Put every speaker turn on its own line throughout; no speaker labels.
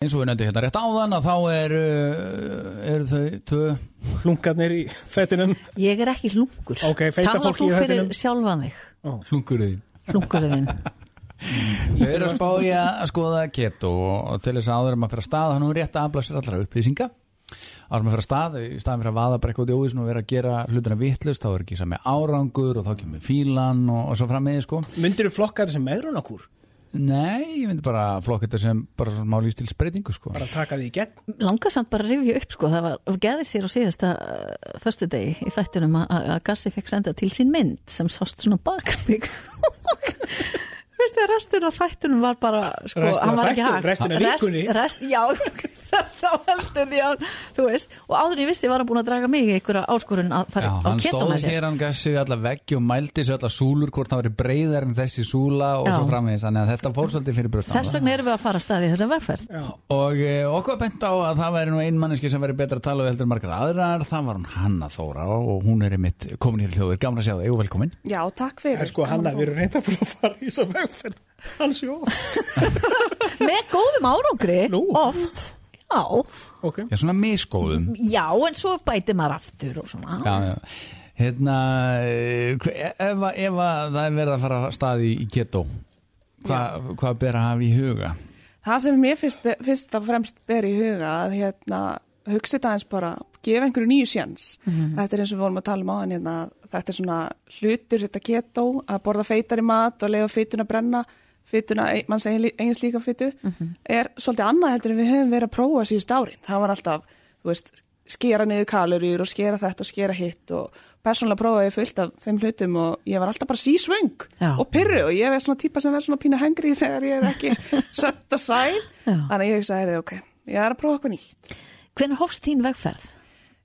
eins og við nefndum hérna rétt áðan að þá er, uh, eru þau tvö
Lungarnir í fettinum
Ég er ekki hlungur.
Ok, feita
Talar
fólk
þú
í
fyrir
höfðinum.
sjálfan þig,
hlungurðin
hlungurinn þinn.
Þau eru að spája að skoða keto og og til þess að áður en maður fyrir að stað hann er rétt að afla sér allra upplýsinga áður en maður fyrir að stað, í staðan fyrir að vaða bara eitthvað út í óvísinu og vera að gera hlutina vittlust þá er ekki sami árangur og þá kemur fílan og, og svo frammiði sko
Myndir þú flokka þetta sem megrunarkúr?
Nei, ég myndi bara flokka þetta sem bara svona smá lístilsbreytingu sko
Bara taka því í gegn?
Langar samt bara að rifja upp sko, það var, geðist þér á síðasta uh, föstu degi í þættunum að- að að Gassi fekk senda til sín mynd sem sást svona bakspík. Veistu að restur af þættunum var bara, sko,
Restin af
hann var ekki
þættunum,
hægt.
restin af
Rest-
vikunni.
Rest, já, rest á heldur, já, þú veist. Og áður en ég vissi var hann búin að draga mig í einhverja áskorun að
Já,
fara á
hann
keto
stóð
með sér.
hér, hann gassi við alla veggi og mældi sér alla súlur hvort það væri breyðar en þessi súla og
Já.
svo framvegis, þannig að þetta fór svolítið fyrir brjóstan á
Þess vegna erum við að fara að staði þessa vegferð.
Og eh, okkur var bent á að það væri nú ein manneski sem væri betra að tala við heldur en margar aðrar, það var hún Hanna Þóra og hún er einmitt komin hér í hljóður, gaman að sjá þig og velkomin.
Já, takk fyrir.
En sko
Gaman
Hanna,
að fá-
við erum reynda fyrir að fara í þess að vegferð Alls jó
Með góðum árangri,
Nú.
oft, já.
Ok
Já, svona misgóðum.
Já, en svo bæti maður aftur og svona.
Já, já. Hérna, eh, hve- ef, að- ef að það er verið að fara að staði í keto, hva, hvað ber að hafa í huga?
Það sem mér fyrst, fyrst að fremst ber í huga að hérna, hugsa þetta aðeins bara, gefa einhverju nýju sjans. Þetta er eins og við vorum að tala um á hann hérna, að þetta er svona hlutur, þetta keto, að borða feitari mat og leiða feituna brenna, feituna, mann segi eigin slíka feitu, er svolítið annað heldur en við höfum verið að prófa síðust árin. Það var alltaf, þú veist, skera niður kaloríur og skera þetta og skera hitt og persónulega prófaði ég fullt af þeim hlutum og ég var alltaf bara sísvöng
Já.
og pyrru og ég er svona típa sem verður svona pínu hengri þegar ég er ekki sött og sæl
Já.
þannig að ég hugsaði, heyrðu, ok, ég er að prófa eitthvað nýtt
Hvernig hófst þín vegferð?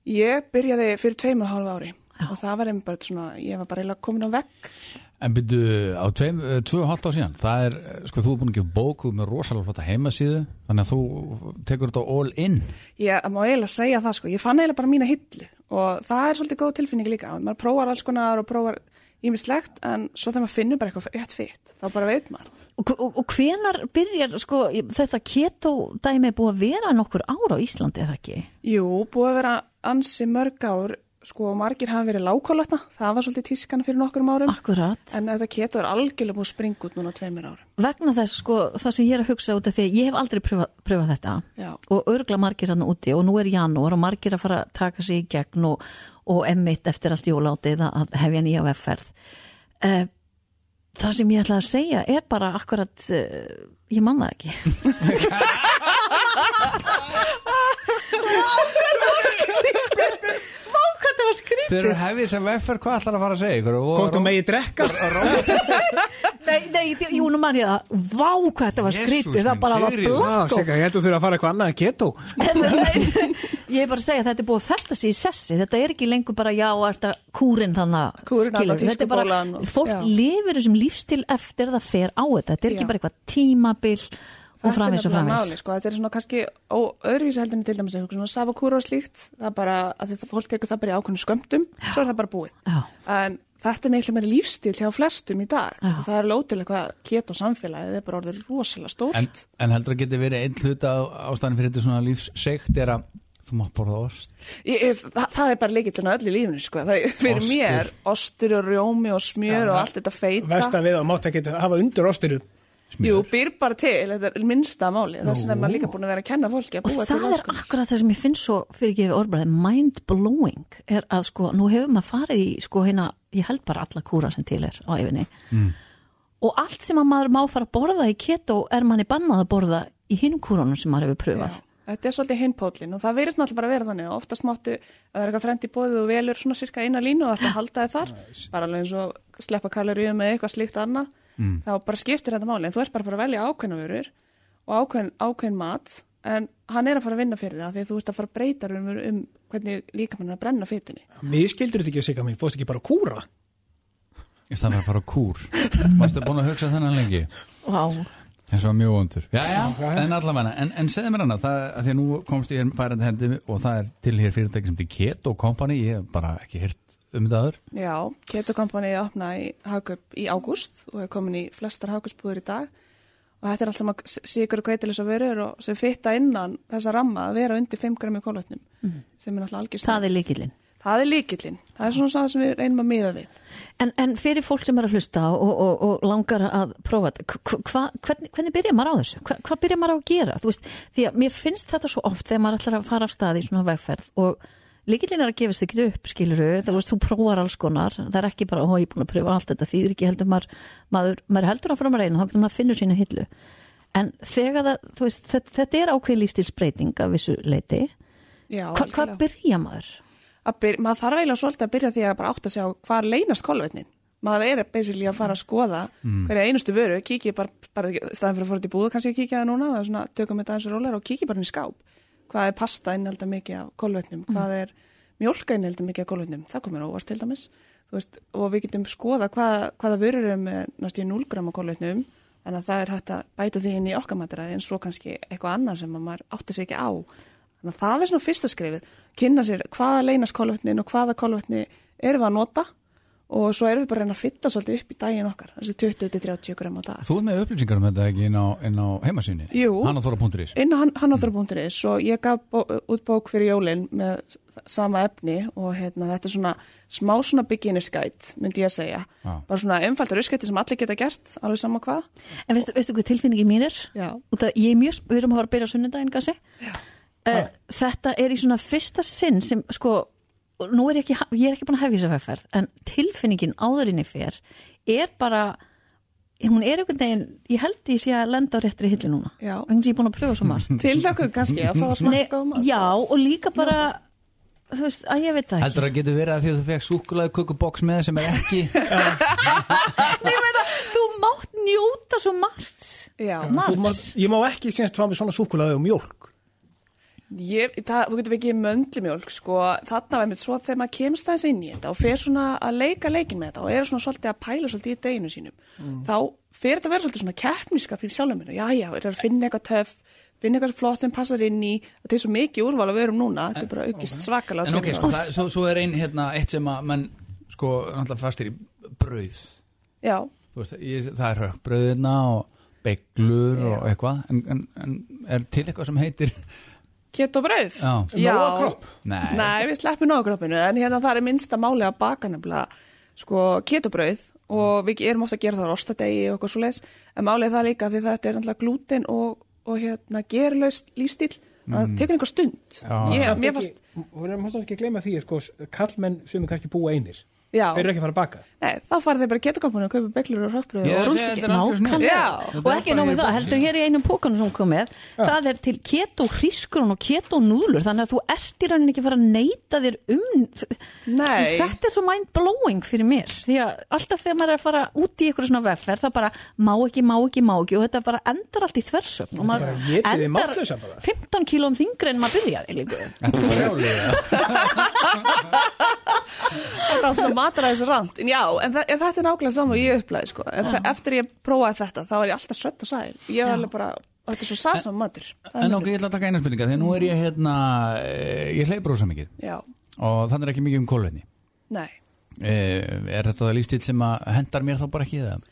ég byrjaði fyrir tveimur og hálfu ári og það var einmitt bara svona, ég var bara eiginlega komin á vegg
En byrju, á tveim, eh, tvö og hálft á síðan, það er, eh, sko, þú er búin að gefa bóku með rosalega flotta heimasíðu, þannig að þú tekur þetta all in.
ég má eiginlega segja það sko, ég fann eiginlega bara mína hillu og það er svolítið góð tilfinning líka að maður prófar alls konar og prófar ímislegt en svo þegar maður finnur bara eitthvað rétt fyrt þá bara veit maður
Og, og, og hvenar byrjar, sko, þetta keto dæmi er búið að vera nokkur ára á Íslandi, er það ekki?
Jú, búið að vera ansi mörg ár, sko margir hafa verið lágkólvetna, það var svolítið tískan fyrir nokkrum árum,
Akkurat.
en þetta keto er algjörlega búið að springa út núna á tveimur árum.
Vegna þess, sko, það sem ég er að hugsa út af því, að ég hef aldrei pröfað, pröfað þetta
Já.
og örgla margir hann úti og nú er janúar og margir að fara að taka sig í gegn og, og emmitt eftir allt jólátið að- að hefja nýja vegferð. Uh, það sem ég ætla að segja er bara akkurat, uh, ég man það ekki.
Þeir eru hefðið sem veffer, hvað ætlar að fara að segja ykkur?
Hvort þú megi drekka?
Nei, nei, þi- jú, nú mann ég það, vá hvað þetta var
Jesús
skrítið, það
minn,
bara var
Sigríður.
Já,
blakko.
seka, ég held að þú þurfa að fara eitthvað annað en keto
Ég er bara að segja að þetta er búið að festa sig í sessi, þetta er ekki lengur bara já, er þetta kúrin þannig,
Kúrinn þarna,
þetta er bara,
tískubólan og-
fólk
já.
lifir þessum lífstil eftir það fer á þetta, þetta er ekki
Já.
bara eitthvað tímabil
Þetta
og
er
framins og
nefnilega
framins.
Máli, sko. Þetta er svona kannski ó, öðruvísi heldur en til dæmis eitthvað svona safakúra og slíkt, það er bara að þetta fólk tekur það bara í ákveðinu skömmtum, svo er það bara búið.
Já.
En þetta er miklu meiri lífstíl hjá flestum í dag
Já.
og það er lótilega hvað keto samfélagið er bara orðið rosalega stórt.
En, en heldur að geti verið einn hluta á- ástæðan fyrir þetta svona lífssegt er að þú mátt borða ost.
Ég, ég, það, það er bara leikillin á öllu lífinu sko. það, er- fyrir
Ostur.
mér, ostur og rjómi og smjör og allt þetta feita
Vest að við að mátt ekki hafa undir ásturu
Jú, býr bara til, þetta er minnsta máli það sem er maður líka búin að vera að kenna fólki að
Og
búa til
það er akkurat það sem ég finn svo fyrir ekki orðbæðið, mind blowing er að sko, nú hefur maður farið í sko hérna, ég held bara alla kúra sem til er á yfinni og allt sem að maður má fara að borða í keto er manni bannað að borða í hinum kúrunum sem maður hefur pröfað.
Þetta er svolítið hinpóllin og það verðist náttúrulega bara að vera þannig og oftast máttu að það er eitthvað þrendi bóðið og velur svona cirka eina línu og ætla að halda þið þar bara alveg eins og sleppa kaloríum eða eitthvað slíkt annað þá bara skiptir þetta máli en þú ert bara að fara að velja ákveðna vörur og ákveðin, ákveðin mat en hann er að fara að vinna fyrir það af því að þú ert að fara að breyta um, um hvernig líkamann er að brenna fytunni
Mér skildur þetta ekki að seka mig, fórst ekki bara að kúra
Í staðan fyrir að fara á kúr. Mástu búin að hugsa þennan lengi?
Vá.
En svo mjög vondur. Já, já, en allavega. En, en segðu mér hana, það, að því að nú komst ég hér færandi hendi og það er til hér fyrirtæki sem til Keto Company, ég hef bara ekki hirt um þetta aður.
Já, Keto Company opnaði í Hagkaup í ágúst og er komin í flestar Hagkaupsbúður í dag og og þetta er allt saman sigur og kveitilis og verur og sem fitta innan þessa ramma að vera undir 5 gram í kólvetnum sem er náttúrulega algjörst
Mhm. það er líkilinn.
það er líkillinn, það er svona það sem við reynum að miða við
En, en fyrir fólk sem er að hlusta og, og, og langar að prófa þetta, hva- hva- hvernig, hvernig byrja maður á þessu? Hva, hvað byrja maður á að gera? Þú veist, því að mér finnst þetta svo oft þegar maður ætlar að fara af staði í svona vegferð og líkillinn er að gefast ekki upp, skiluru, þú veist, þú prófar alls konar, það er ekki bara, ó, ég er búin að pröfa allt þetta, því ekki heldur maður, maður, maður heldur að fara maður einu, þá getur maður að finna sína hillu. En þegar það, þú veist, þetta, þetta er ákveðin lífstilsbreyting af vissu leiti,
Já,
hva, hvað
algjörlega.
byrja maður?
Að byr, maður þarf eiginlega svolítið að byrja því að bara átta sig á hvað leynast kolvetnin maður er basically að fara að skoða hverja einustu vöru, kíkja bara, bara staðan fyrir að fóra til búðu, kannski að kíkja það núna eða svona, tökum þetta aðeins og rólar og kíkja bara inn í skáp hvað er pasta innelda mikið af kolvetnum hvað er mjólka innelda mikið af kolvetnum það komur óvart til dæmis Þú veist, og við getum skoða hvað, hvaða vörur er með náttúrulega 0 gram af kolvetnum en að það er hægt að bæta því inn í okkar mataræði en svo kannski eitthvað annað sem að maður átti sig ekki á Þannig að það er svona fyrsta skrifið, kynna sér hvaða leynast kolvetnin og hvaða kolvetni erum við að nota og svo erum við bara að reyna að fylla svolítið upp í daginn okkar, þessi 20-30 gram á dag.
Þú ert með upplýsingar um þetta ekki inn á, inn á heimasýni?
Jú.
Hannaþóra.is
Inn á hannáþra.is og ég gaf bó, út bók fyrir jólinn með s- sama efni og hérna, þetta er svona smá svona beginnerskætt, myndi ég að segja.
Já.
Bara svona einfaldar uskætti sem allir geta gert, alveg sama hvað.
En veistu, veistu hvað tilfinningin mín er?
Já.
Út að ég er mjög, við erum að fara að byrja á sunnudaginn, Gassi. Uh, þetta er í svona fyrsta sinn sem, sko, og nú er ég ekki, ég er ekki búin að hefja þess að vegferð, en tilfinningin áðurinni fer er bara, hún er einhvern veginn, ég held ég sé að lenda á réttri hilli núna.
Já.
Vegna þess að ég er búin að pröfa svo margt.
Til þakku kannski að fá að
Nei,
smakka á mat.
já, og líka bara, þú veist, að ég veit það ekki.
Heldur það getur verið að því að þú fekk súkulaði kökuboks með sem er ekki
Nei, ég meina, þú mátt njóta svo margt.
Já.
Margt.
Þú má, ég má ekki sínst fá með svona súkulaði og mjólk
Ég, það, þú getur ekki möndlumjólk sko, þarna var mér svo að þegar maður kemst aðeins inn í þetta og fer svona að leika leikin með þetta og er svona svolítið að pæla svolítið í deginu sínum
Mm.
þá fer þetta að vera svolítið svona keppniskap í sjálfum mér, já já, er að finna eitthvað töff finna eitthvað flott sem passar inn í þetta er svo mikið úrval að við erum núna, þetta er bara aukist svakalega á
En Eh, ok,
tveimur
sko,
árum.
það, svo, svo er ein hérna eitt sem að menn sko náttúrulega fastir í brauð
Já,
Þú veist, ég, það er hrökkbrauðina og beglur og eitthvað en, en, en er til eitthvað sem heitir
kett og brauð
Já.
Nóakropp?
Nei.
Nei, við sleppum nógakroppinu en hérna það er minnsta máli að baka nefnilega sko ketobrauð
Mm.
og við erum ofta að gera það á rostadegi og eitthvað svo leis en málið er það líka því þetta er náttúrulega glúten og, og hérna gerlaust lífstíl mm. það tekur einhver stund
Já.
ég,
Samt
mér
ekki-
fast,
Við erum alltaf ekki að gleyma því sko, kallmenn sem er kannski búa einir
Já.
Þeir eru ekki að fara að baka
nei, þá farið þeir bara í ketokoppinu og kaupa beglur og röpbröð
Ég er
og
að segja,
rúnstekki
þetta er algjör snill.
Já.
og ekki nómið það, heldur hér í einum pókanum sem kom með, það er til keto hrísgrón og keto núlur, þannig að þú ert í rauninni ekki að fara að neyta þér um
Nei.
þetta er svo mind blowing fyrir mér, því að alltaf þegar maður er að fara út í ykkur svona veffer, það bara má ekki, má ekki, má ekki og þetta bara endar allt í þversögn og
Bara
maður
étið þið máttlausa bara.
15 kílóm þingri um en maður byrjaði líka
Þetta er brjálega
þetta er svona mataræðis rand en já, en, þa en þetta er nákvæmlega saman og ég upplæði sko. En þa- eftir ég prófaði þetta þá er ég alltaf svett og sæl ég var alveg bara, þetta er svo sæsam matur Það er
En
minn
ok, ég ætla að taka eina spurninga því að nú er ég hérna eh, ég hleyp rosa mikið
uppáhalds. Já,
og þannig er ekki mikið um kólvenni
nei
Er þetta lístil sem að hendar mér þá bara ekki það?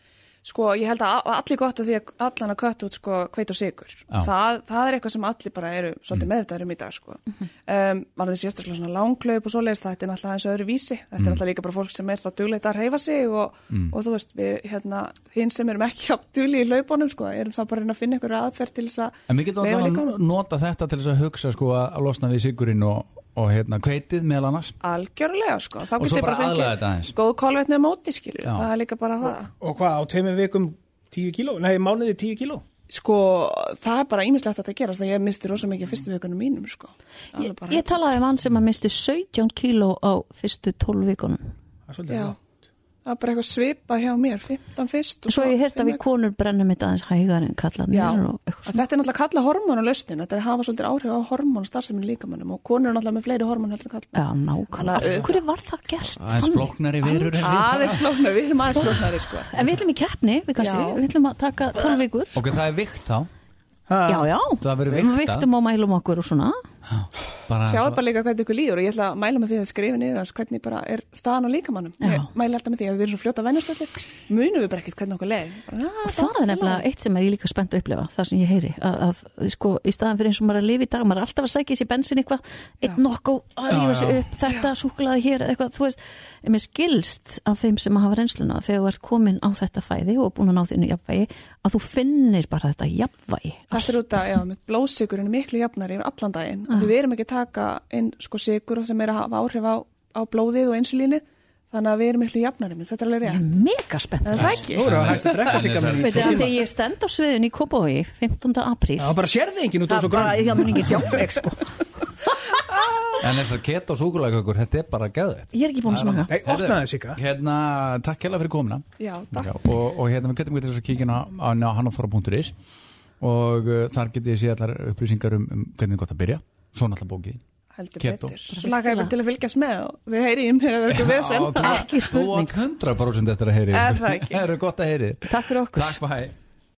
Sko, ég held að a- allir gott að því að allan að kött út sko hveit og sigur.
Já. Mhm.
Það, það er eitthvað sem allir bara eru svolítið meðvitaður um í dag sko. Um, var það sérstaklega svona langklaup og svoleiðis, þetta er náttúrulega eins og öðru vísi. Þetta
Mhm.
er náttúrulega líka bara fólk sem er þá dugleit að reyfa sig og, og þú veist, við hérna, hinn sem erum ekki á dugli í laupunum sko, erum þá bara að reyna að finna einhverju aðferð til þess að
En við getum
leyfa
alltaf
líkamanum.
að um- nota þetta til þess að hugsa sko að að losna við sigurinn og, og hérna kveitið meðal annars
Algjörlega sko, þá
Og
getur
svo
ég bara
bara aðlaga þetta aðeins.
fengið góð kolvetni móti skilur,
Já.
það er líka bara það.
Og hvað, á tveimum vikum 10 kíló? Nei, mánuði 10 kíló?
Sko, það er bara ímislegt að þetta gerast þegar ég misti rosa mikið fyrstu vikunum mínum sko. Alveg
ég,
bara
ég talaði um hann sem að misti 17 kíló á fyrstu 12 vikunum
Það er svolítið
Já,
það.
það var bara eitthvað svipa hjá mér, 15 fyrst og
Svo ég heyrt að við konur brennum þetta aðeins hægar en kallanir
Já,
og eitthvað
að þetta er náttúrulega að kalla hormón á lausnin, þetta er að hafa svolítið áhrif á hormón og starfseminn líkamannum og konur er náttúrulega með fleiri hormón heldur en kalla.
Já, nákvæmlega.
Þannig að-
Af hverju var það gert?
aðeins
Þannig?
flóknari verur en við
Aðeins flóknar, við erum aðeins flóknari sko.
En við ætlum í keppni, við kannski,
Já.
við ætlum að taka 12 vikur.
Ok, það er vikt þá
Ha,
Já, já.
Það verður
Við
vikta.
viktum og mælum okkur og svona.
bara,
sjáu bara líka hvernig ykkur líður og ég ætla að mæla með því að skrifa niður hans hvernig bara er staðan á líkamannum
Já.
ég mæla alltaf með því að við erum svo fljóta vennastöldi munum við bara ekkert hvernig okkur leið bara, "Ah,
Það er
allt í
nefnilega
lagi."
eitt sem er ég líka spennt að upplifa, það sem ég heyri, að, að sko, í staðan fyrir eins og maður er að lifa í dag, maður er alltaf að sækja sér bensin eitthvað, einn nokku, að
Já,
rífa
já.
sér upp, þetta súklaði hér, eitthvað, þú veist, mér skilst af þeim sem hafa reynsluna þegar þú ert komin á þetta fæði og búin að ná þínu jafnvægi, að þú finnir bara þetta jafnvægi.
Þetta er út að, já, með blóðsigurinn er miklu jafnari yfir allan daginn. Ah. Því við erum ekki að taka inn sko sigur sem er að hafa áhrif á, á blóðið og insulínu, þannig að við erum miklu jafnari, menn þetta er alveg
Ég
rétt.
er mega spennt.
Það er það ekki.
Nú erum við hægt að drekka sig gamlega.
Veitir, að þegar ég stend á sviðun í Kópavogi 15. apríl,
Það bara sérði enginn út á
það
svo
bara,
grann.
það mun ekki sjá mig, sko.
en þess að keto súkulækökur, þetta er bara gæðið
Ég er ekki búin að smaka.
Nei, opnaði sig að.
hérna, takk hella fyrir komina
Já, takk.
Já, og, og hérna við getum getið þess að kíkina á hanaþóra.is og uh, þar getið þið séð allar upplýsingar um, um hvernig er gott að byrja svo náttúrulega bókið
Heldur
Keto.
betur. Svo laka ég bara til að fylgjast með og þið heyri í mér að það er eitthvað vesen.
Já, þú-
Ekki spurning.
Þú átt 100% eftir að heyri
Er það ekki?
Það eru gott að heyri
Takk fyrir okkur.
Takk, bæ